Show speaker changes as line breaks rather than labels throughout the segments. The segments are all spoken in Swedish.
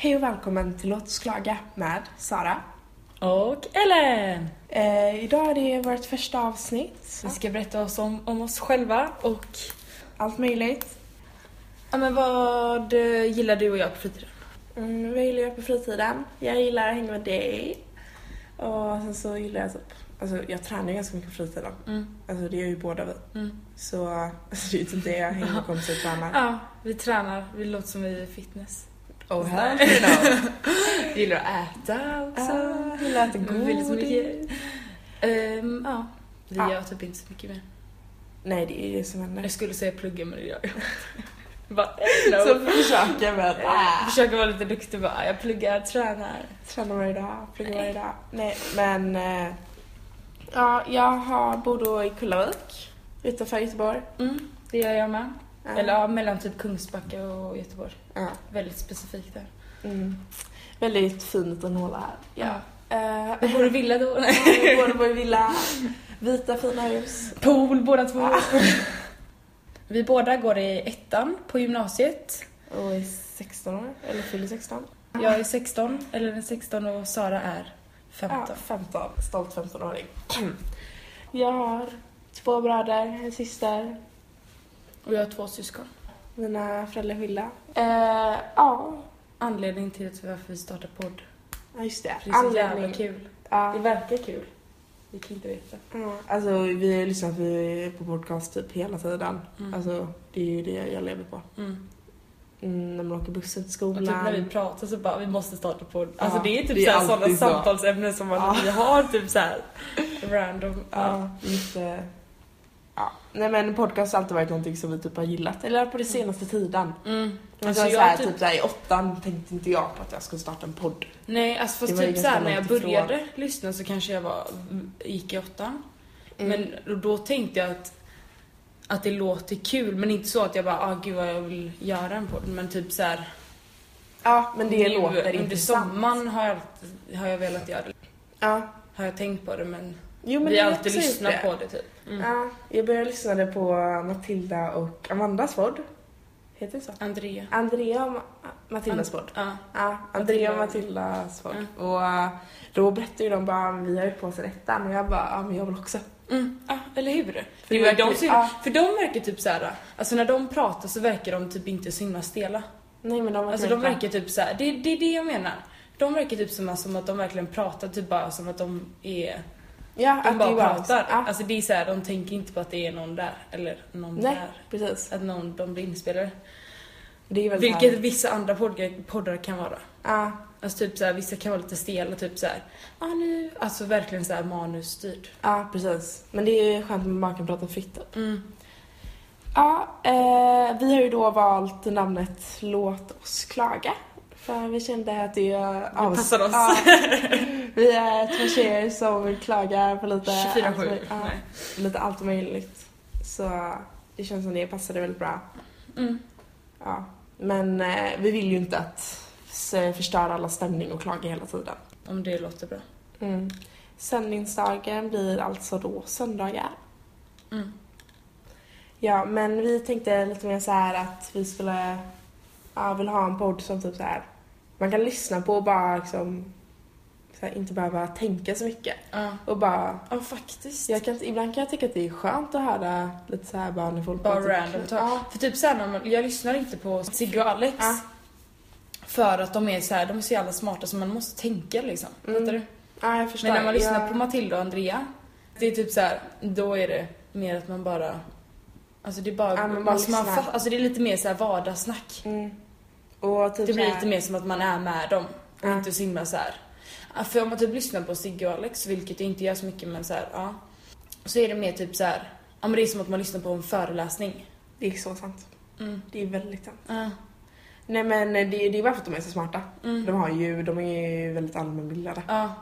välkommen till Låt oss klaga med Sara.
Och Ellen!
Eh, idag är det vårt första avsnitt.
Vi ska berätta oss om, om oss själva och
Allt möjligt.
ja, men vad eh, gillar du och jag på fritiden?
Mm, vad gillar jag på fritiden? Jag gillar att hänga med dig. Och sen så gillar jag typ... Alltså jag tränar ju ganska mycket på fritiden.
Mm.
Alltså det gör ju båda vi.
Mm.
Så alltså, det är ju typ det jag hänger med kompisar och tränar.
Ja, vi tränar. Vi låter som vi är fitness.
Oh hell no.
Vi gillar att äta alltså. också.
Ah, gillar att äta
Vi vill så
godis.
mycket. Ehm, ja. Vi
Ja.
gör typ inte så mycket mer.
Nej det är ju det som händer.
Jag skulle säga plugga men det gör jag inte. Bara, eh,
Så
no. Ah.
försöker jag med
Jag Försöker vara lite duktig bara. Jag pluggar, tränar.
Tränar varje dag, pluggar
Nej.
varje dag. Nej, men... eh, Ja, jag har, bor då i Kullavik utanför Göteborg.
Mm, det gör jag med.
Ja.
Eller ja, mellan typ Kungsbacka och Göteborg.
Ja.
Väldigt specifikt där.
Mm. Väldigt fin liten håla här. Ja. Eh,
Vi bor i villa då. Nej.
vi Både bor i villa, vita fina hus.
Pool båda två. Vi båda går i ettan på gymnasiet.
Och är 16 år, eller fyller 16.
Jag är 16, eller den 16 och Sara är 15.
Ja, 15. Stolt 15-åring. Jag har två bröder, en syster,
Och jag har två syskon.
mina föräldrar är skilda. Eh, ja,
Anledningen till att- varför vi startar podd.
Ja, just det.
Det är så jävla kul.
Ja.
Det verkar kul. Vi kan inte veta.
Ja, alltså vi har ju lyssnat vi- på podcast typ hela tiden.
Mm.
Alltså det är ju det jag lever på.
Mm.
Mm, när man åker bussen till
Och
skolan.
typ när vi pratar så bara, vi måste starta podd. Alltså
Ja,
det är typ
det är
så här sådana
alltid så.
samtalsämnen som man,
Ja.
vi har typ så här random.
Ja, lite... Ja. Nej men podcast har alltid varit någonting som vi typ har gillat. Eller på det senaste tiden.
Mm.
Alltså,
Alltså
så här,
jag
typ...
typ,
så här, I åttan tänkte inte jag på att jag skulle starta en podd.
nej alltså
Det
fast
var ju
typ såhär
ganska
när jag
långt ifrån.
började lyssna så kanske jag var, gick i åttan.
Mm.
Men då, då tänkte jag att, att det låter kul men inte så att jag bara ah gud vad jag vill göra en podd. Men typ såhär
Ja, men det
nu
låter
Mm. under
intressant.
sommaren har jag, alltid- har jag velat göra det.
Ja.
Har jag tänkt på det men,
Jo, men
vi
det
har
är
alltid
också
lyssnat
det.
på det typ. Mm.
Ja, jag började lyssna på Matilda och Amandas podd. Heter det så?
Andrea.
Andrea och Ma- Matildas podd.
Ja.
Ja, Andrea och Matildas folk. Och eh, då berättade ju de bara "Ah, vi har ju på oss en ettan och jag bara ja men jag vill också.
Mm, ja, eller hur?
För
För,
det
jo,
verkar-
de, ser,
ja.
för de verkar typ såhär, alltså när de pratar så verkar de typ inte så himla stela.
Nej men de var
Alltså de verkar typ såhär, det, det är det jag menar. De verkar typ som, som att de verkligen pratar typ bara som att de är,
ja,
de
att
bara
det var-
pratar.
Ja,
Alltså det är såhär, de tänker inte på att det är någon där, eller någon
Nej.
där.
precis.
Att någon, de blir inspelade.
Det är väl
Vilket
så här-
vissa andra poddar, poddar kan vara.
Ja,
Alltså typ såhär, vissa kan vara lite stela, typ såhär, ah, nu, alltså verkligen såhär manusstyrd.
ja precis. Men det är ju skönt att man kan prata fritt. då.
Mm.
Ja, eh, vi har ju då valt namnet Låt oss klaga. För vi kände att det är...
Det passar oss.
Ja, vi är två tjejer som vill klaga på lite... allt
24-7.
möjligt. Ja,
Nej.
lite allt möjligt. Så det känns som det passade väldigt bra.
Mm.
Ja, men eh, vi vill ju inte att s- förstöra alla stämning och klaga hela tiden.
Om det låter bra.
Mm. Sändningsdagen blir alltså då söndagar.
Mm.
Ja, men vi tänkte lite mer så här att vi skulle ja, vill ha en podd som typ så här man kan lyssna på och bara liksom så här, inte behöva tänka så mycket
Ja.
och bara
ja, faktiskt.
jag kan, ibland kan jag tycka att det är skönt att höra lite så här bara när folk
Bara
pratar.
random talk.
Ja,
För typ såhär, när man- jag lyssnar inte på Sigge och Alex.
Ja.
För att de är så här, de är så jävla smarta så man måste tänka liksom.
Mm,
Fattar du?
ja, jag förstår.
Men när man lyssnar
jag...
på Matilda och Andrea, det är typ så här, då är det mer att man bara... Alltså det är bara...
Ja, men
man
bara
så man
lyssnar.
fa- alltså det är lite mer så här vardagssnack.
mm. och typ
Det
så
blir
här-
lite mer som att man är med dem. Och
Ja.
inte så himla så här. Ja, För om man typ lyssnar på Sigge och Alex, vilket jag inte gör så mycket men så här, ja. Så är det mer typ så här, ja men det är som att man lyssnar på en föreläsning.
Det är så sant.
Mm.
Det är väldigt sant.
Ja.
Nej men det, det är bara för att de är så smarta.
Mm.
De, har ju, de är ju väldigt allmänbildade.
Ja.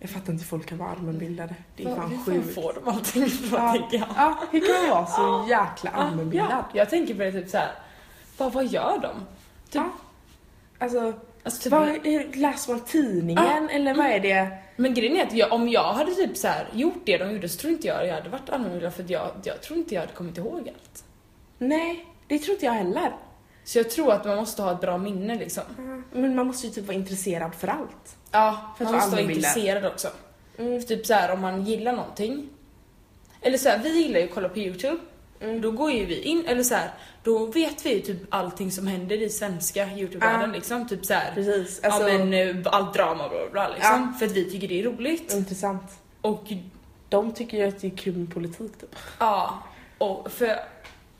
Jag fattar inte hur folk kan vara allmänbildade. Det är
Vad-
fan
Hur
sjukt.
fan får de allting ifrån
Ja.
tänker jag?
Ja, hur kan man vara så jäkla allmänbildad?
Ja, jag tänker på det typ såhär, vad, vad gör de? Typ,
Ja. Alltså,
alltså, typ,
vad, läser man tidningen
Ja.
eller vad är det?
Men grejen är att jag, om jag hade typ så här gjort det de gjorde så tror inte jag jag hade varit annorlunda för att jag, jag tror inte jag hade kommit ihåg allt.
Nej, det tror inte jag heller.
Så jag tror att man måste ha ett bra minne liksom.
Men man måste ju typ vara intresserad för allt.
Ja,
För
för
att
att
få
man måste vara
andra bilder.
intresserad också.
Mm.
För typ så här om man gillar någonting. Eller så här, vi gillar ju att kolla på YouTube.
Mm.
Då går ju vi in, eller så här, då vet vi ju typ allting som händer i svenska YouTube-världen
Ah.
liksom. Typ så här,
Precis. Alltså,
ja, men eh, allt drama bla bla, bla liksom. För att vi tycker det är roligt.
Mm. Intressant.
Och
De tycker ju att det är kul med politik typ.
ja, och för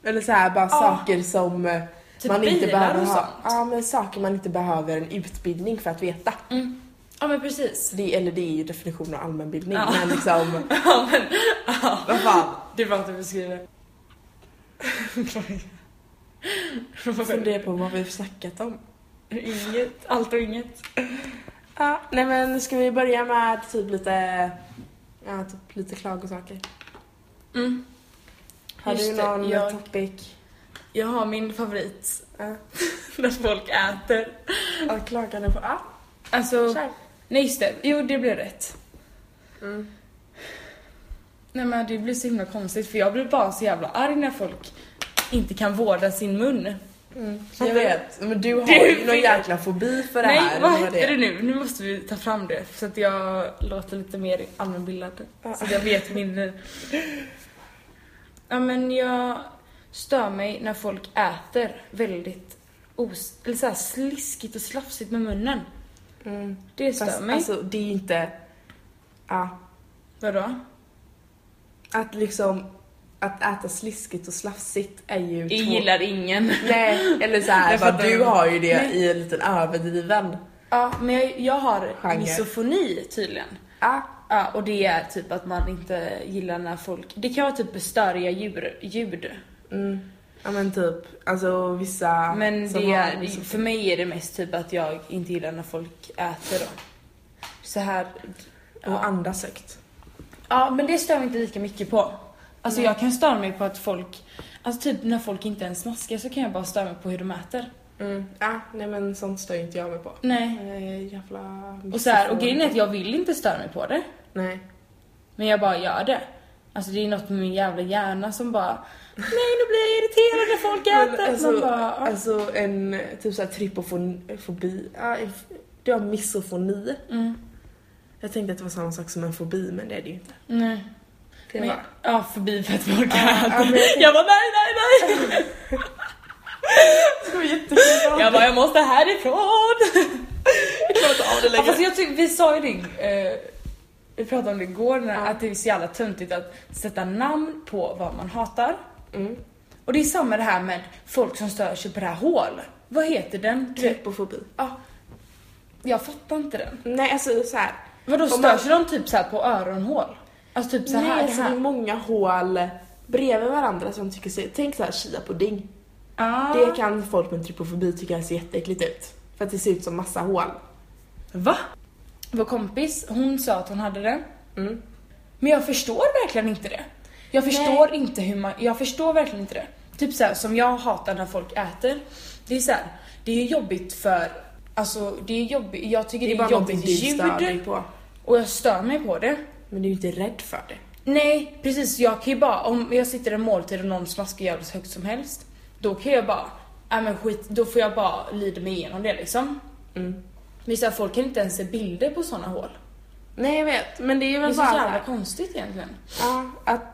Eller så här, bara
Ja.
saker som eh,
typ
man inte
bilar
behöver
och
ha.
sånt.
Ja, men saker man inte behöver en utbildning för att veta.
Mm. Ja men precis.
Det, eller det är ju definitionen av allmänbildning,
Ja.
men liksom...
Ja, men, ja.
Vad fan?
Det är bra att du beskriver.
Jag funderar på vad vi har snackat om.
inget, allt och inget.
Ja, nej men ska vi börja med typ lite, ja, typ lite klagosaker?
Mm.
Har
Just
du
det,
någon
jag-
topic?
Jag har min favorit
Ja,
när folk äter.
att klagande på... Ja,
Alltså,
kör.
nej just det. Jo det blev rätt.
Mm.
Nej men det blir så himla konstigt för jag blir bara så jävla arg när folk inte kan vårda sin mun. Mm.
Jag vet, men du har
Du
ju någon
vet.
jäkla fobi för det
nej,
här.
vad
eller
hette
är.
det nu? Nu måste vi ta fram det så att jag låter lite mer allmänbildad.
Ja.
Så att jag vet mindre. Ja men jag stör mig när folk äter väldigt os- eller så här sliskigt och slafsigt med munnen.
Mm.
Det stör
Fast,
mig.
alltså det är ju inte... Ja,
Vadå?
att liksom... Att äta sliskigt och slafsigt är ju...
Jag
två-
gillar ingen.
Nej, eller såhär,
Jag
bara,
fattar.
du har ju det
Nej.
i en liten överdriven...
Ja men jag, jag har
Genre.
misofoni tydligen.
Ja,
Ja, och det är typ att man inte gillar när folk... Det kan vara typ bestöriga djur, ljud.
mm. ja men typ, alltså vissa...
Men
som
det
har
är,
liksom-
för mig är det mest typ att jag inte gillar när folk äter då. Så här.
Och
Ja,
andas högt.
ja men det stör mig inte lika mycket på. Alltså
Nej.
jag kan störa mig på att folk, alltså typ när folk inte ens smaskar så kan jag bara störa mig på hur de äter.
Mm. Ja, nej men sånt stör ju inte jag mig på.
Nej.
Eh, jävla...
Och så här, och grejen är att jag vill inte störa mig på det.
Nej.
Men jag bara gör det. Alltså det är något med min jävla hjärna som bara, nej nu blir jag irriterad när folk äter.
Men,
Man
alltså,
bara, ja.
alltså en typ såhär trypofobi... Ja, en f- du har misofoni.
mm,
Jag tänkte att det var samma sak som en fobi men det är det ju inte.
nej.
Det
Men-
var...
Ja, förbi för att folk
Ja, ja,
äter.
men jag tänkte-
Jag bara nej, nej, nej.
Det var jättekul.
Jag bara jag måste härifrån.
klarar inte av det
Ja, fast jag tycker, vi sa ju det, eh, vi pratade om det igår, när,
Ja.
att det är så jävla töntigt att sätta namn på vad man hatar.
Mm.
Och det är samma det här med folk som stör sig på det här hål. Vad heter den? Du vet,
Trypofobi.
ja. jag fattar inte den.
Nej alltså såhär.
Vadå
Om
stör
man-
sig de typ så här på öronhål? Alltså typ så
Nej
här,
alltså det är
här.
många hål bredvid varandra som tycker sig... Tänk såhär chiapudding.
Ah.
Det kan folk med trypofobi tycka ser jätteäckligt ut. För att det ser ut som massa hål.
Va? Vår kompis, hon sa att hon hade den.
Mm.
Men jag förstår verkligen inte det. Jag förstår inte hur man, jag förstår verkligen inte det. Typ så här, som jag hatar när folk äter. Det är så här, det är jobbigt för, alltså det är jobbigt, jag tycker det är, jobbigt
stör dig
ljud
på.
och jag stör mig på det.
Men du är ju inte rädd för det.
Nej precis, jag kan ju bara, om jag sitter i en måltid och någon smaskar jävligt högt som helst. Då kan jag bara, nej men skit, då får jag bara lida mig igenom det liksom.
Mm.
Men så här, folk kan inte ens se bilder på sådana hål.
Nej jag vet, men det är
Det är
väl
så
bara
jävla
såhär,
konstigt egentligen.
ja, att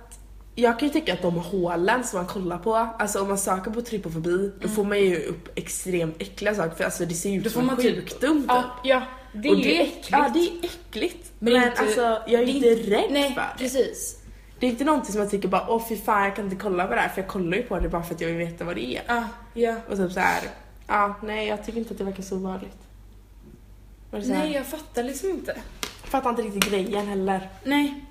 jag kan ju tycka att de hålen som man kollar på, alltså om man söker på trypofobi då får man ju upp extremt äckliga saker för alltså det ser ju
Mm. Då
ut
får
som en
man typ-
sjukdom typ.
Ja, ja. Det är
Och
ju äckligt.
Ja det är äckligt. Men,
Men inte-
alltså jag är ju inte
det är
rädd
Nej,
för det.
precis.
Det är inte någonting som jag tycker bara åh fy fan jag kan inte kolla på det här för jag kollar ju på det bara för att jag vill veta vad det är.
Ja, ja.
Och typ såhär, ja nej jag tycker inte att det verkar så obehagligt. Och det är så här,
Nej, jag fattar liksom inte.
jag fattar inte riktigt grejen heller.
Nej.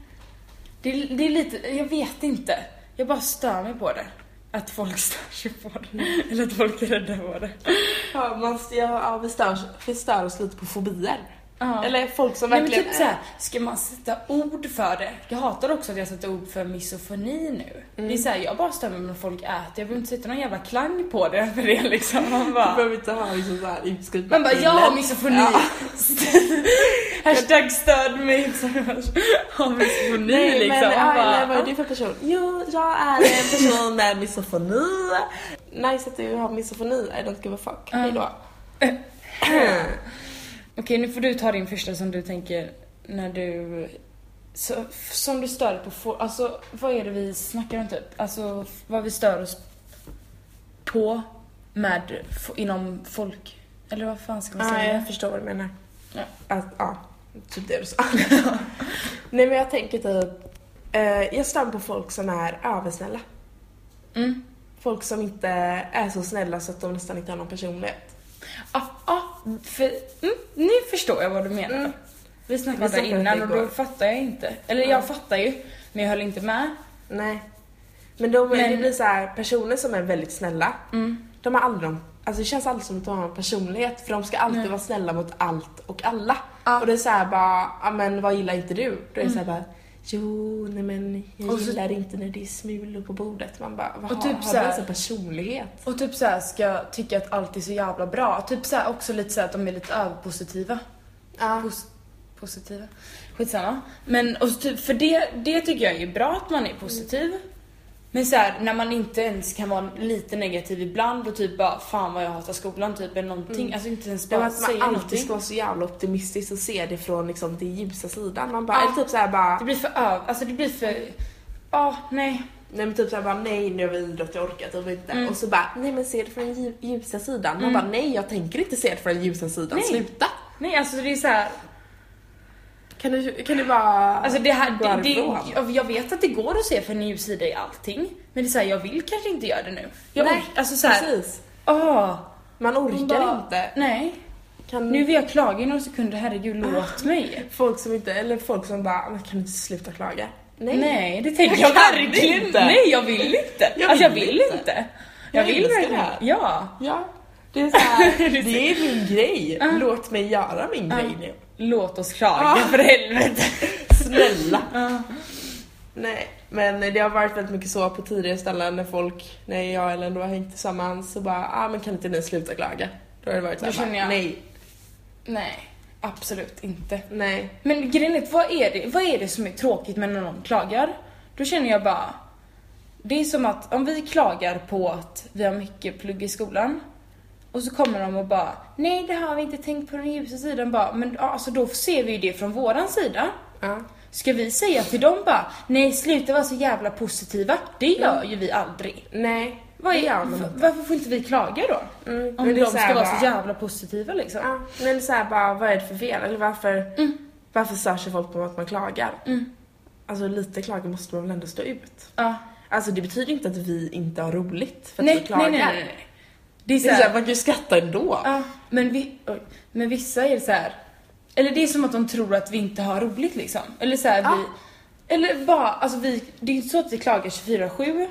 Det, är- det är lite, jag vet inte. Jag bara stör mig på det. Att folk stör sig på det. Eller att folk är rädda på det.
Ja, man, ja, ja, vi, stör, vi stör oss lite på fobier.
Ja.
Eller folk som
Nej men
verkligen...
typ såhär, ska man sätta ord för det? Jag hatar också att jag sätter ord för misofoni nu. Det är såhär, jag bara stämmer mig när folk äter, jag behöver inte sätta någon jävla klang på det för det liksom. Man
Du
bara,
behöver inte ha liksom såhär utskrivet
man bara,
bilder.
jag har misofoni.
Ja.
Hashtag stöd mig som har misofoni
Nej,
liksom.
men,
Man
ja, eller vad
bara,
är du för person? Jo, jag är en person med misofoni. Nice att du har misofoni, I don't give a fuck.
Mm.
Hejdå.
Okej, nu får du ta din första som du tänker när du... Så, som du stör på... For, alltså, vad är det vi snackar om typ? Alltså, vad vi stör oss på med... f- Inom folk... Eller vad fan ska man
Ja,
säga?
jag förstår vad du menar.
Ja.
Att, ja, typ det du sa. Nej men jag tänker typ, eh, jag stör på folk som är översnälla.
Mm.
Folk som inte är så snälla så att de nästan inte har någon personlighet.
Ah, ah, för, mm, nu förstår jag vad du menar.
Mm.
Vi
Vi
snackade
snackade om det
innan och då
igår.
fattar jag inte. Eller
Ja.
jag fattar ju, men jag höll inte med.
Nej. Men, de,
Men-
det blir så här, personer som är väldigt snälla,
Mm.
de har aldrig någon, alltså det känns aldrig som att de har en personlighet för de ska alltid
Nej.
vara snälla mot allt och alla.
Ja. Mm.
Och det är så här bara, ja men vad gillar inte du? Då är det så här bara, jo nej men jag
Och så-
gillar inte när det är smulor på bordet. Man bara, vad
Och
har,
typ
har
så
du
här-
ens en personlighet?
Och typ såhär ska tycka att allt är så jävla bra. Typ såhär också lite såhär att de är lite överpositiva.
Ja.
Pos- positiva. Skitsamma. Men och så typ, för det, det tycker jag är bra att man är positiv. Men så här, när man inte ens kan vara lite negativ ibland och typ bara fan vad jag hatar skolan typ eller någonting.
Mm.
Alltså inte ens
Det var
bara
att man
säga
alltid
någonting.
ska vara så jävla optimistisk och se det från liksom den ljusa sidan. Man bara,
Ja.
eller typ såhär bara,
Det blir för öv... Alltså det blir för... Ja, nej.
nej men typ såhär bara nej nu har vi idrott, jag orkar typ inte.
Mm.
Och så bara, nej men se det från den lju- ljusa sidan. Man
Mm.
bara, nej jag tänker inte se det från den ljusa sidan,
Nej.
sluta!
Nej alltså det är så här.
Kan du, kan du bara
Alltså det här,
gå
det, det,
härifrån?
jag- jag vet att det går att se för en ljus sida i allting. Men det är såhär, jag vill kanske inte göra det nu. Jag
Nej,
ork- alltså såhär,
Precis.
åh.
Man orkar
Hon bara-
inte.
Nej.
Kan
Nu vill jag klaga i några sekunder, herregud
Ah,
låt mig.
Folk som inte, eller folk som bara, "Men kan du inte sluta klaga?
Nej,
Nej.
det tänker
Jag
jag,
kan
verkligen
inte.
inte. Nej jag vill inte.
Jag
alltså jag
vill
vill
inte.
inte. Jag,
Jag
vill
älskar
verkligen
det här.
Ja.
Ja. Det är såhär, det är min grej. Låt mig göra min
Ja.
grej nu.
Låt oss klaga
Ah.
för helvete.
Snälla.
Ja.
Nej, men det har varit väldigt mycket så på tidigare ställen när folk, när jag eller ändå har hängt tillsammans så bara, ah men kan inte ni sluta klaga? Då har det varit
Då
såhär,
känner jag-
nej,
Nej, absolut inte.
nej.
Men grejen är, vad är, det, vad är det som är tråkigt med när någon klagar? Då känner jag bara... Det är som att om vi klagar på att vi har mycket plugg i skolan och så kommer de och bara Nej det har vi inte tänkt på den ljusa sidan bara Men ja, alltså då ser vi ju det från våran sida
Ja.
Ska vi säga till dem bara Nej sluta vara så jävla positiva Det gör ju vi aldrig
Nej.
Vad
Mm. det
är,
gör man inte.
v- Varför får inte vi klaga då?
Mm,
Om
men det
de
är
ska
så här
vara
bara-
så jävla positiva liksom
Ja, men så här bara, vad är det för fel? Eller varför, varför stör sig folk på att man klagar?
Mm.
Alltså lite klagan måste man väl ändå stå ut?
Ja.
Alltså det betyder inte att vi inte har roligt för att vi
Nej, nej,
klagar.
nej, nej, nej. Det är
Det
så
är
här,
såhär, man kan ju skratta ändå.
Ja, men, vi, oj, men vissa är så här. Eller det är som att de tror att vi inte har roligt liksom. Eller så här,
Ja.
vi... Eller bara, alltså vi, det är inte så att vi klagar 24-7,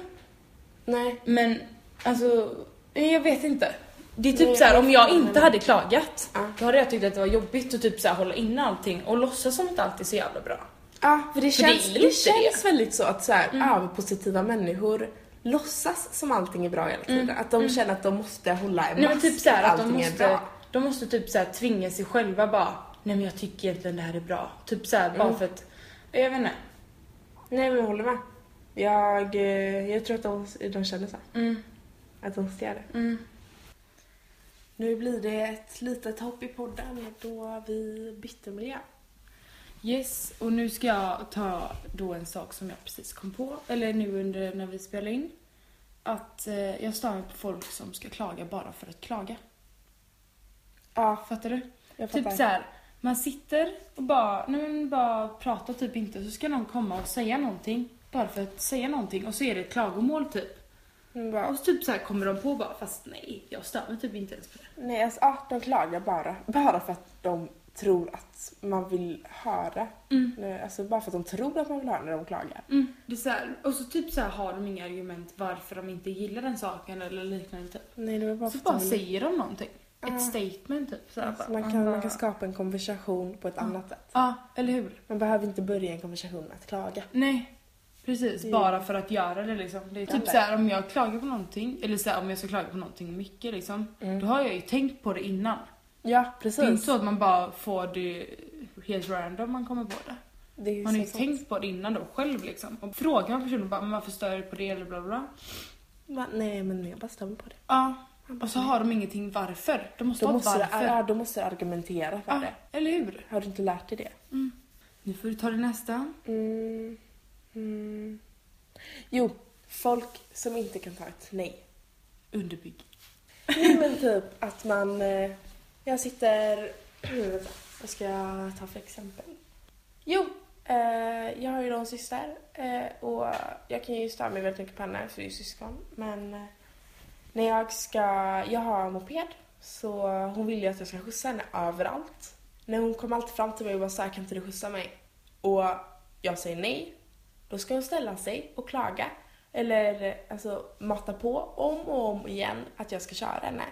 Nej.
men alltså, eh, jag vet inte. Det är typ
Nej,
så här,
jag
om jag
vet inte
inte
heller.
hade klagat,
Ja.
då hade jag tyckt att det var jobbigt att typ så här, hålla inne allting och låtsas som att allt är så jävla bra.
Ja, för det
För det är
känns, det
inte det. Mm.
känns väldigt så att såhär, överpositiva människor låtsas som allting är bra hela tiden. Att de känner att de måste hålla en
Mm. Nej men typ
mask
så här,
för
att de
allting är
måste,
bra.
de måste typ så här, tvinga sig själva bara, nej men jag tycker egentligen det här är bra. Typ så här, bara
Mm.
för att, jag vet inte.
Nej men jag håller med. Jag, eh, jag tror att de, de känner så.
Mm,
Att de måste göra det.
mm.
Nu blir det ett litet hopp i podden då vi bytte miljö.
Yes, och nu ska jag ta då en sak som jag precis kom på, eller nu under när vi spelar in. Att eh, jag stör mig på folk som ska klaga bara för att klaga.
Ja,
Fattar du?
jag
Typ så här, man sitter och bara, nej men bara pratar typ inte, så ska någon komma och säga någonting. Bara för att säga någonting och så är det ett klagomål typ.
Mm, bara,
Och så typ så här kommer de på bara, fast nej, jag stör mig typ inte ens på det.
nej, alltså, ja, de klagar bara. Bara för att de tror att man vill höra.
Mm.
Nej, Alltså bara för att de tror att man vill höra när de klagar.
Mm, det är så här, och så typ så här har de inga argument varför de inte gillar den saken eller liknande typ.
Nej, det var bara
Så
för
bara
att de vill...
säger de någonting.
Ja.
ett statement typ. Så här, bara,
Så man, kan, man kan skapa en konversation på ett
Mm.
annat sätt.
Ja, eller hur?
Man behöver inte börja en konversation med att klaga.
Nej. Precis,
Det-
bara för att göra det liksom. Det är typ
Eller-
så här om jag klagar på någonting, eller så här, om jag ska klaga på någonting mycket liksom. Då har jag ju tänkt på det innan.
Ja,
Det är inte
Mm. precis.
så att man bara får det helt random man kommer på det.
Det är ju
Man har ju
så-
tänkt på det innan då själv liksom. Och frågar man personen bara, men varför stör du på det eller bla bla, bla.
Va? Nej, men jag bara stämmer på det.
Ja.
Han bara,
Och så
"Nej."
har de ingenting varför. De måste
då
ha
måste, du,
varför.
ja, då måste du argumentera för
Ja,
det.
eller hur?
Har du inte lärt dig det?
Nu får du ta det nästa.
Mm. Mm. Jo, folk som inte kan ta ett nej.
Underbygg.
Nej men typ att man... eh, Jag sitter... Vänta, Vad ska jag ta för exempel? Jo, eh, jag har ju då en syster eh, och jag kan ju störa mig väldigt mycket på henne för vi är ju syskon. Men eh, när jag ska... Jag har moped så hon vill ju att jag ska skjutsa henne överallt. När hon kommer alltid fram till mig och bara såhär, kan inte du skjutsa mig? Och jag säger nej. Då ska hon ställa sig och klaga. Eller alltså mata på om och om igen att jag ska köra henne.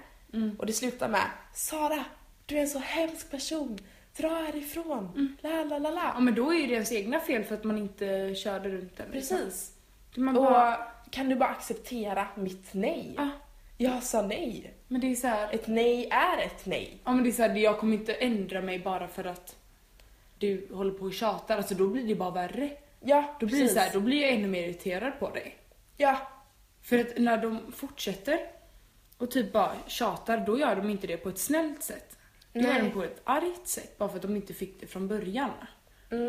Och det slutar med Sara, du är en så hemsk person. Dra härifrån. La la la
Ja
la.
men då är ju deras egna fel för att man inte körde runt den. liksom.
Precis.
Man bara,
Och kan du bara acceptera mitt nej?
ah,
Jag sa nej.
men det är så här,
Ett nej är ett nej.
ja men det är så här, jag kommer inte ändra mig bara för att du håller på och tjatar. Alltså då blir det bara värre.
Ja,
Då blir, det så här, då blir jag ännu mer irriterad på dig.
Ja,
För att när de fortsätter och typ bara tjatar, då gör de inte det på ett snällt sätt. Då
Nej.
gör de på ett argt sätt, bara för att de inte fick det från början.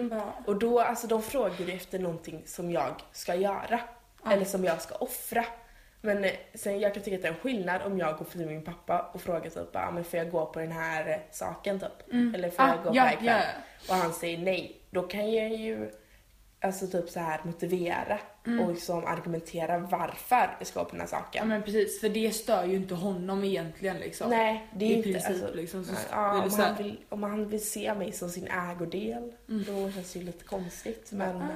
Bara,
Och då, alltså de frågar ju efter någonting som jag ska göra.
Ja.
Eller som jag ska offra. Men eh, sen, jag kan tycka att det är en skillnad om jag går förbi min pappa och frågar typ ah, men får jag gå på den här eh, saken typ? Eller får
Ah,
jag gå på
ja,
den här kvällen?
ja,
Och han säger nej. Då kan jag ju alltså typ så här motivera
Mm.
och liksom argumentera varför jag ska gå på den här
ja
saken.
men precis, för det stör ju inte honom egentligen liksom.
Nej, det är
I
ju inte... alltså,
princip, liksom, så
nej,
är det
ja, om,
så här-
han vill, om han vill se mig som sin ägodel, då känns det ju lite konstigt. Mm. Men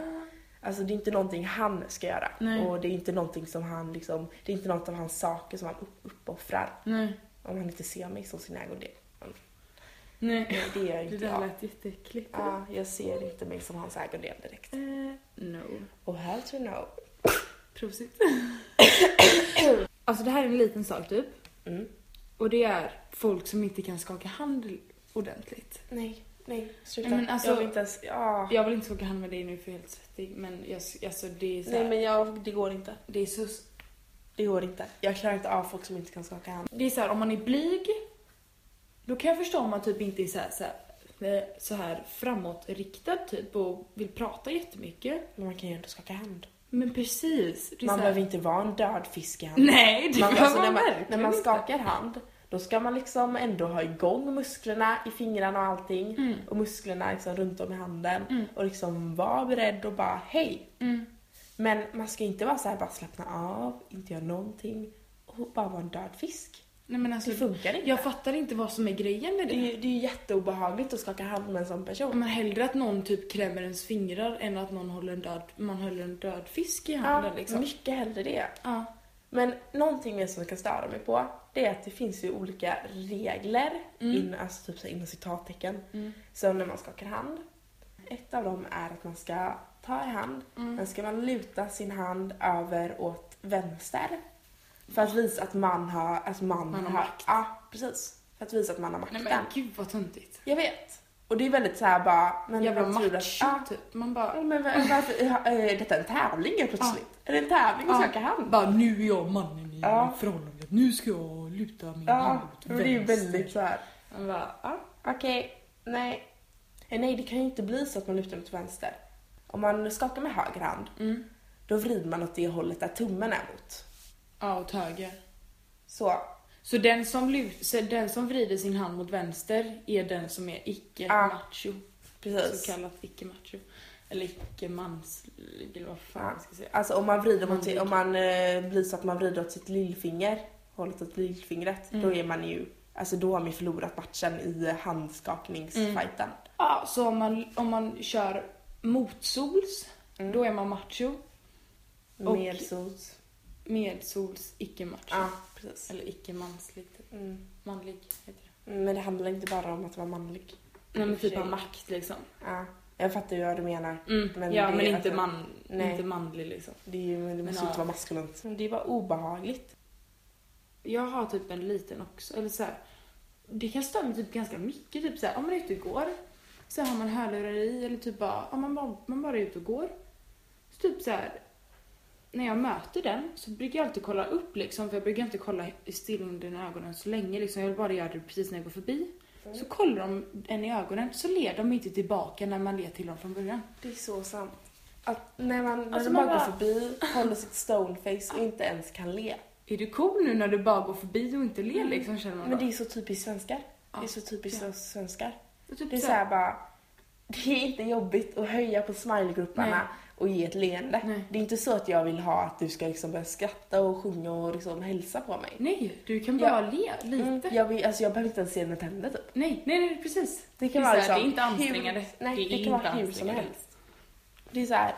alltså, det är inte någonting han ska göra.
Nej.
Och det är inte någonting som han liksom... Det är inte något av hans saker som han upp, uppoffrar.
Nej,
Om han inte ser mig som sin ägodel. Men
nej.
Det gör
Det
inte
där
jag.
lät jätteäckligt.
Ja, jag ser inte mig som hans ägodel direkt.
Eh, no.
Och hell to no.
Prosit. alltså det här är en liten sak typ.
Mm.
Och det är folk som inte kan skaka hand ordentligt.
Nej, nej, sluta.
Nej, men alltså-
jag vill inte ens... Ja.
Jag vill inte skaka hand med dig nu för jag är helt svettig men jag, alltså det är så här,
Nej men jag, det går inte.
det är så
Det går inte. Jag klarar inte av folk som inte kan skaka hand.
Det är så här, om man är blyg, då kan jag förstå om man typ inte är så här, så här, eh, så här framåtriktad typ och vill prata jättemycket.
Men man kan ju ändå skaka hand.
Men precis. Det är
Man
så här,
behöver inte vara en död fisk i handen.
Nej, det
Man,
behöver
alltså, när,
man,
man,
verkligen
när man
inte.
skakar hand, då ska man liksom ändå ha igång musklerna i fingrarna och allting.
Mm.
Och musklerna liksom runt om i handen.
Mm.
Och liksom vara beredd och bara hej.
Mm.
Men man ska inte vara så här bara slappna av, inte göra någonting. Och bara vara en död fisk.
Nej men alltså,
Det funkar inte. Mm.
jag fattar inte vad som är grejen med
Det är
det.
ju, det är ju jätteobehagligt att skaka hand med en sån person.
Om man hellre att någon typ klämmer ens fingrar än att någon håller en död, man håller en död fisk i handen
Ja,
liksom.
mycket hellre det.
Ja.
Men någonting mer som jag kan störa mig på det är att det finns ju olika regler,
Mm.
in, alltså typ så här inom citattecken,
Mm.
som när man skakar hand. Ett av dem är att man ska ta i hand,
Mm.
men ska man luta sin hand över åt vänster för att visa att man har, att man,
Man har makt.
Ja, precis. För att visa att man har
Nej
makten.
men gud vad töntigt.
Jag vet. Och det är väldigt så här bara... Men
Jävla
vad tror du att-
macho
Ja.
typ. Man bara...
Ja, Men var- varför, är detta en tävling helt plötsligt? Är det en tävling att
Ja.
skaka hand?
Bara nu är jag mannen i
Ja.
förhållandet, nu ska jag luta min hand
Ja,
åt
men det är ju
vänster.
väldigt så här.
Man bara,
Ja, okej. Nej. Eh, Nej, det kan ju inte bli så att man lutar mot vänster. Om man skakar med höger hand,
mm.
då vrider man åt det hållet där tummen är mot.
Ja, åt höger.
Så,
Så den, som lut, så den som vrider sin hand mot vänster är den som är
Ja,
icke-macho.
Ah, precis.
så kallat icke-macho. Eller icke-mans... Eller vad fan
Ja.
jag ska säga.
Alltså om man vrider
Man
mot, om man eh, blir så att man vrider åt sitt lillfinger, hållet åt lillfingret,
Mm.
då är man ju, alltså då har man ju förlorat matchen i eh, handskakningsfajten.
Ja, så om man, om man kör motsols,
Mm.
då är man macho. Mm. Och-
Mer sot.
Med sols icke-match.
Ja, Ah, precis.
Eller icke-manslig. typ.
Mm.
Manlig heter det.
Mm, Men det handlar inte bara om att vara manlig.
Nej men typ
Tjej.
av makt liksom.
Ja. Jag fattar ju vad du menar.
Mm.
Men
ja
det-
men inte,
alltså,
man,
nej.
inte manlig liksom.
Det, är ju, men det
Men
måste ju
ja.
inte vara maskulint. Men Det är bara obehagligt.
Jag har typ en liten också, eller så här. Det kan störa mig typ ganska mycket, typ så här, om man är ute och går. Så har man hörlurar i eller typ bara, om man bara, man bara är ute och går. Så typ så här. När jag möter den så brukar jag alltid kolla upp liksom, för jag brukar inte kolla i stirrande i ögonen så länge liksom. Jag vill bara göra det precis när jag går förbi.
Mm.
Så kollar de en i ögonen så ler de inte tillbaka när man ler till dem från början.
Det är så sant. Att när man, när
Alltså,
de
man
bara går
bara-
förbi, håller sitt stoneface och inte ens kan le.
Är du cool nu när du bara går förbi och inte ler liksom känner man
Mm. Men det
bara.
är så typiskt svenskar. Det är så typiskt
Ja.
svenskar.
Och typ
Det är
så
så
här-
här bara, det är inte jobbigt att höja på smilegrupperna
Nej.
och ge ett leende.
Nej.
Det är inte så att jag vill ha att du ska liksom börja skratta och sjunga och liksom hälsa på mig.
Nej, du kan bara le lite.
Mm, jag, vill, alltså jag behöver inte ens se dina tänder typ.
Nej, nej, nej, precis.
Det kan
är
vara
så
liksom
här, det är inte ansträngande.
hur- nej, det kan vara hur som
ansträngande.
helst. Det är så här,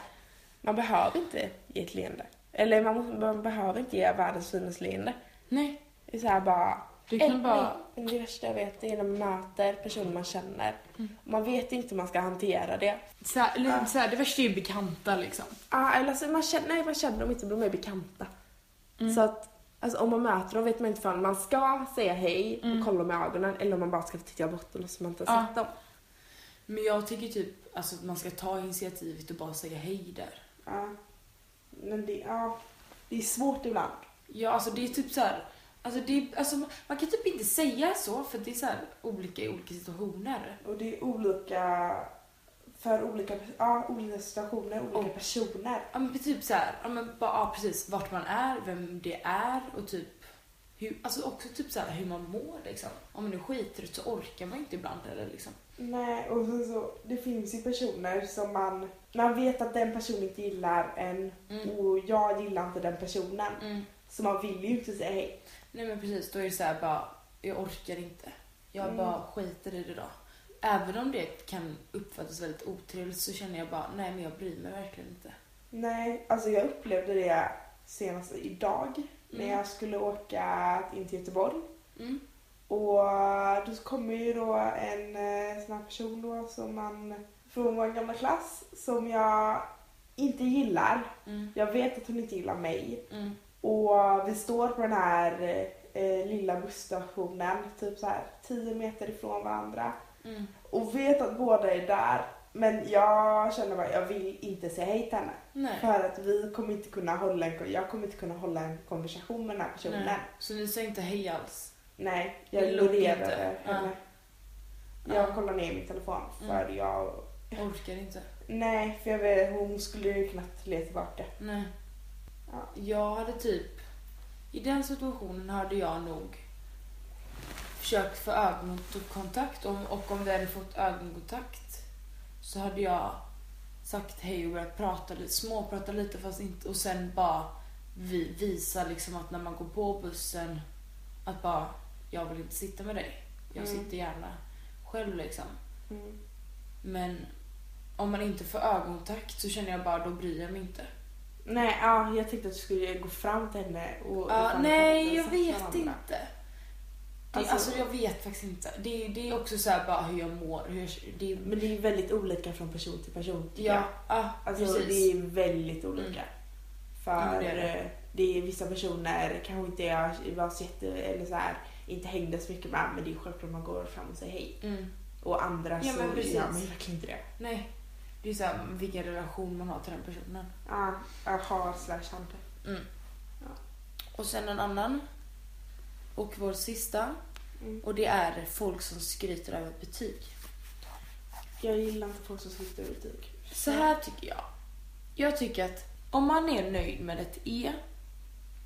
man behöver inte ge ett leende. Eller man, man behöver inte ge världens finaste leende.
Nej,
Det är så här bara...
du kan
Eller,
bara...
nej, Det värsta jag vet är när man möter personer man känner.
Mm.
Man vet inte hur man ska hantera det.
Så här, eller, så här, det värsta är ju bekanta liksom.
Ja, eller alltså man känner, nej, man känner dem inte, de är bekanta.
Mm.
Så att alltså, om man möter dem vet man inte om man ska säga hej och kolla dem i ögonen eller om man bara ska titta bort dem så man inte har
Mm. Ja.
sett dem.
Men jag tycker typ alltså, att man ska ta initiativet och bara säga hej där.
Ja. Men det, ja, det är svårt ibland.
Ja, alltså det är typ så här... Alltså, det är, alltså, man kan typ inte säga så för det är så här olika i olika situationer.
Och det är olika för olika, ja, olika situationer, olika
Och-
personer.
Ja men typ så här, ja men bara ja, precis vart man är, vem det är och typ hur, alltså också typ så här hur man mår liksom. Om man är skittrött så orkar man inte ibland eller liksom.
Nej, och sen så, det finns ju personer som man, man vet att den personen inte gillar en
Mm.
och jag gillar inte den personen.
Mm.
Så man vill ju inte säga hej.
Nej men precis, då är det så här bara, jag orkar inte. Jag
Mm.
bara skiter i det då. Även om det kan uppfattas väldigt otrevligt så känner jag bara, nej men jag bryr mig verkligen inte.
Nej, alltså jag upplevde det senast idag när jag skulle åka in till Göteborg.
Mm.
Och eh, då kommer ju då en eh, sån här person då som man från vår gamla klass som jag inte gillar.
Mm.
Jag vet att hon inte gillar mig.
Mm.
Och eh, vi står på den här eh, lilla busstationen, typ så här 10 meter ifrån varandra.
Mm.
Och vet att båda är där. Men jag känner bara, jag vill inte säga hej till henne.
Nej.
För att vi kommer inte kunna hålla en, jag kommer inte kunna hålla en konversation med den här personen.
nej.
Nej,
Så ni sa inte hej alls?
jag
Det låter
ignorerar
inte.
henne.
Ja. Mm.
Jag kollar ner i min telefon för jag...
Orkar inte?
Nej, för jag vet, hon skulle ju knappt le tillbaka.
Nej.
Ja.
Jag hade typ, i den situationen hade jag nog försökt få ögonkontakt och, och om vi hade fått ögonkontakt så hade jag sagt hej och börjat prata lite, småprata lite fast inte och sen bara vi, visa liksom att när man går på bussen att bara jag vill inte sitta med dig. Jag
Mm.
sitter gärna själv liksom.
Mm.
Men om man inte får ögonkontakt så känner jag bara då bryr jag mig inte.
Nej, ja, jag tänkte att du skulle gå fram till henne och...
Ja,
ifall ni
nej,
kunde
jag
satsa
vet
varandra.
inte. Det,
Alltså-
alltså, jag vet faktiskt inte. Det, är- det är också så här bara hur jag mår. Hur jag, det, är-
Men det är väldigt olika från person till person. tycker
ja, ah,
jag.
ja,
Alltså
precis.
det är väldigt olika.
Mm.
För
Ja, det är det.
eh, det är vissa personer kanske inte jag var så jätte, eller så här, inte hängde så mycket med men det är självklart man går fram och säger hej.
Mm.
Och andra
Ja,
så
men precis.
gör man ju verkligen inte det.
Nej, det är så här vilken relation man har till den personen.
Ja, jag har slash hade.
Och sen en annan. Och vår sista.
Mm.
Och det är folk som skryter över betyg.
Jag gillar inte folk som skriver betyg.
Så här tycker jag. Jag tycker att om man är nöjd med ett E,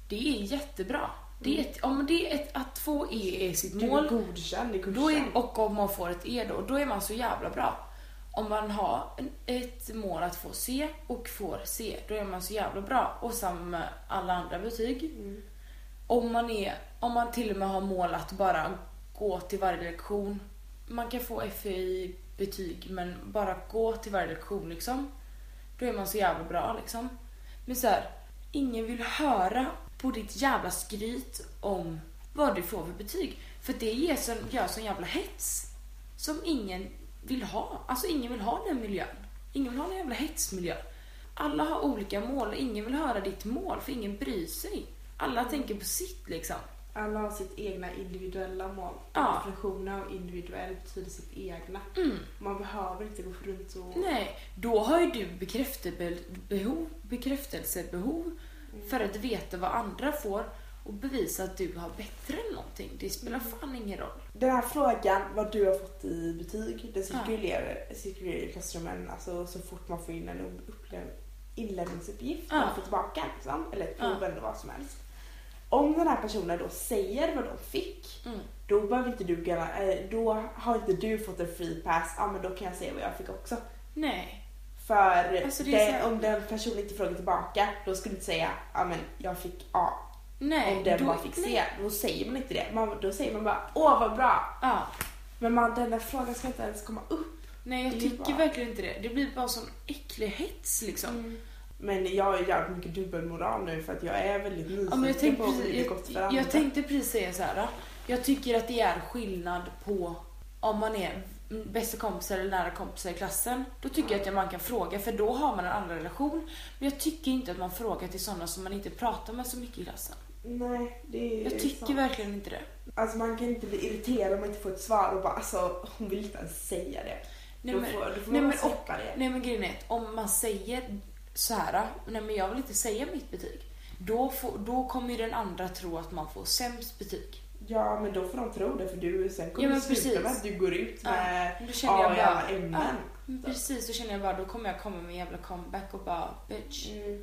det är jättebra. Det är ett, om det är ett, att två E är sitt
Typ Du
mål,
är godkänd i
Då
kursen.
är, och om man får ett E då, då är man så jävla bra. Om man har en- ett mål att få C och får C, då är man så jävla bra. Och samma med alla andra betyg.
Mm.
Om man, är, om man till och med har mål att bara gå till varje lektion. Man kan få F E i betyg, men bara gå till varje lektion liksom. Då är man så jävla bra liksom. Men så här, ingen vill höra på ditt jävla skryt om vad du får för betyg. För det ger sån, gör sån jävla hets som ingen vill ha. Alltså ingen vill ha den miljön. Ingen vill ha den jävla hetsmiljön. Alla har olika mål och ingen vill höra ditt mål för ingen bryr sig. Alla tänker på sitt liksom.
Alla har sitt egna individuella mål.
Ja.
Definitionen av individuell betyder sitt egna.
Mm.
Man behöver inte gå runt och...
Nej, då har ju du bekräftelsebehov, bekräftelsebehov för att veta vad andra får och bevisa att du har bättre än någonting. Det spelar fan ingen roll.
Den här frågan, vad du har fått i betyg, den
Ja.
cirkulerar, cirkulerar i klassrummen alltså, så fort man får in en upplev- inlämningsuppgift.
Ja.
Man får tillbaka liksom, eller ett prov
Ja.
eller vad som helst. Om den här personen då säger vad de fick,
Mm.
då, behöver inte du, galla- eh, då har inte du fått en free pass. Ja, men då kan jag säga vad jag fick också.
Nej.
För
Alltså, det är
det,
så här-
om den personen inte frågar tillbaka, då skulle du inte säga ja, men jag fick A.
Nej.
om den
då-
bara fick
nej.
C, då säger man inte det. Man, då säger man bara åh vad bra.
Ja.
Men man, den där frågan ska inte ens komma upp.
Nej, jag
Det är ju
tycker
bara-
verkligen inte det. Det blir bara sån äcklig hets liksom.
Men jag har ju jävligt mycket dubbelmoral nu för att jag är väldigt nyfiken
Ja, men jag, tänkte
på hur det
precis,
gått för
jag,
andra.
jag tänkte precis säga så här. då. Jag tycker att det är skillnad på om man är mm, bästa kompisar eller nära kompisar i klassen. Då tycker jag att man kan fråga för då har man en annan relation. Men jag tycker inte att man frågar till sådana som man inte pratar med så mycket i klassen.
Nej, det är
Jag tycker
sant.
verkligen inte det.
Alltså man kan inte bli irriterad om man inte får ett svar och bara alltså hon vill inte ens säga det.
Nej,
då
men-
får, då får man
nej, men
bara släppa det.
Nej men grejen är att om man säger så här, nej men jag vill inte säga mitt betyg. Då, får, då kommer ju den andra tro att man får sämst betyg.
Ja men då får de tro det för du sen kommer
Ja, men
du sluta
precis.
med att du går ut
Ja.
med
Då känner
ja. A
jag
i
bara-
alla ämnen.
Men Precis, då känner jag bara då kommer jag komma med en jävla comeback och bara bitch.
Mm.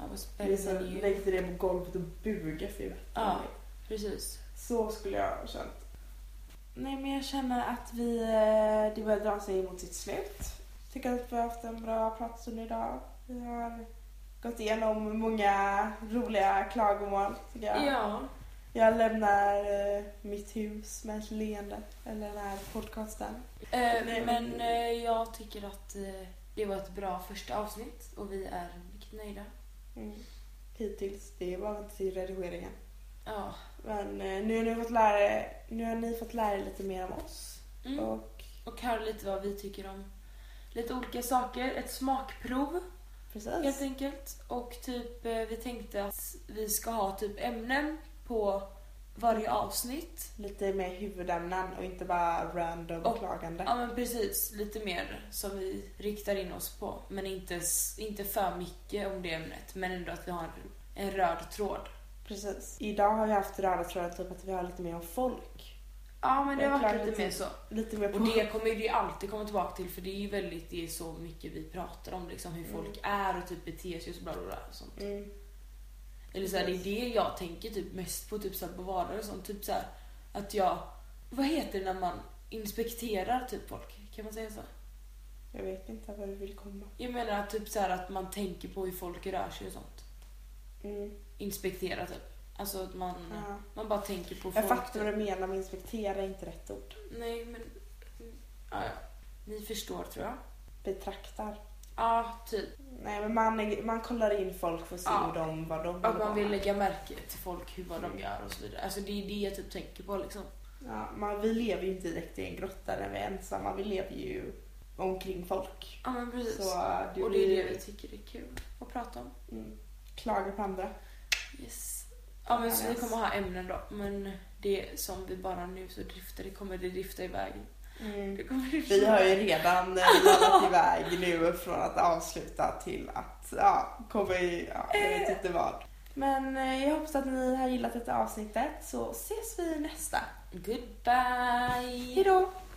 I was
Det är
better
så,
than you.
lägg dig ner på golvet och buga för
Ja. Precis.
Så skulle jag ha känt. Nej men jag känner att vi, eh, det börjar dra sig mot sitt slut. Tycker att vi har haft en bra pratstund idag. Vi har gått igenom många roliga klagomål tycker jag.
Ja.
Jag lämnar eh, mitt hus med ett leende. Eller den här podcasten.
Eh,
Nej, men-
men eh, jag tycker att eh, det var ett bra första avsnitt och vi är mycket nöjda.
Mm. Hittills, det var inte till redigeringen.
Ja.
Men eh, nu har, ni fått lära, er- nu har ni fått lära er lite mer om oss.
Mm.
Och
Och här är lite vad vi tycker om lite olika saker. Ett smakprov
precis.
helt enkelt. Och typ eh, vi tänkte att vi ska ha typ ämnen på varje avsnitt.
Lite mer huvudämnen och inte bara random
Och-
klagande.
Ja men precis, lite mer som vi riktar in oss på. Men inte, s- inte för mycket om det ämnet. Men ändå att vi har en, en röd tråd.
Precis. Idag har vi haft röda trådar typ att vi har lite mer om folk.
Ja men det har
Jag
varit
klarar
lite
inte.
mer så.
Lite mer på...
Och det kommer ju det alltid komma tillbaka till för det är ju väldigt, det är så mycket vi pratar om liksom hur folk är och typ beter sig och så bla bla bla och sånt.
Mm.
Eller så här, det är det jag tänker typ mest på typ så här, på vardagar och sånt. Typ så här, att jag, vad heter det när man inspekterar typ folk? Kan man säga så?
Jag vet inte vad du vill komma.
Jag menar typ så här att man tänker på hur folk rör sig och sånt.
Mm.
inspektera typ. Alltså att man,
Ja.
man bara tänker på
Jag
folk.
fattar
typ.
vad du menar men inspektera är inte rätt ord.
Nej men, mm, ja, ja. Ni förstår tror jag.
Betraktar.
Ja, typ.
Nej men man, man kollar in folk för att se
Ja.
hur de, vad de
Att man
håller på
vill
med.
lägga märke till folk, hur vad
Mm.
de gör och så vidare. Alltså det är det jag typ tänker på liksom.
Ja, man, vi lever ju inte direkt i en grotta när vi är ensamma. Vi lever ju omkring folk.
Ja men precis.
Så eh, det
och det är
blir-
det vi tycker är kul att prata om.
Mm. Klaga på andra.
Yes. Ja men så vi
Yes.
kommer ha ämnen då. Men det som vi bara nu så driftar, det kommer det drifta iväg.
Mm.
Det kommer drifta
Vi har
iväg.
ju redan eh, lallat iväg nu från att avsluta till att ja, komma i, ja, jag vet inte vad. Eh. Men eh, jag hoppas att ni Mm. har gillat detta avsnittet så ses vi i nästa.
Goodbye!
Hejdå!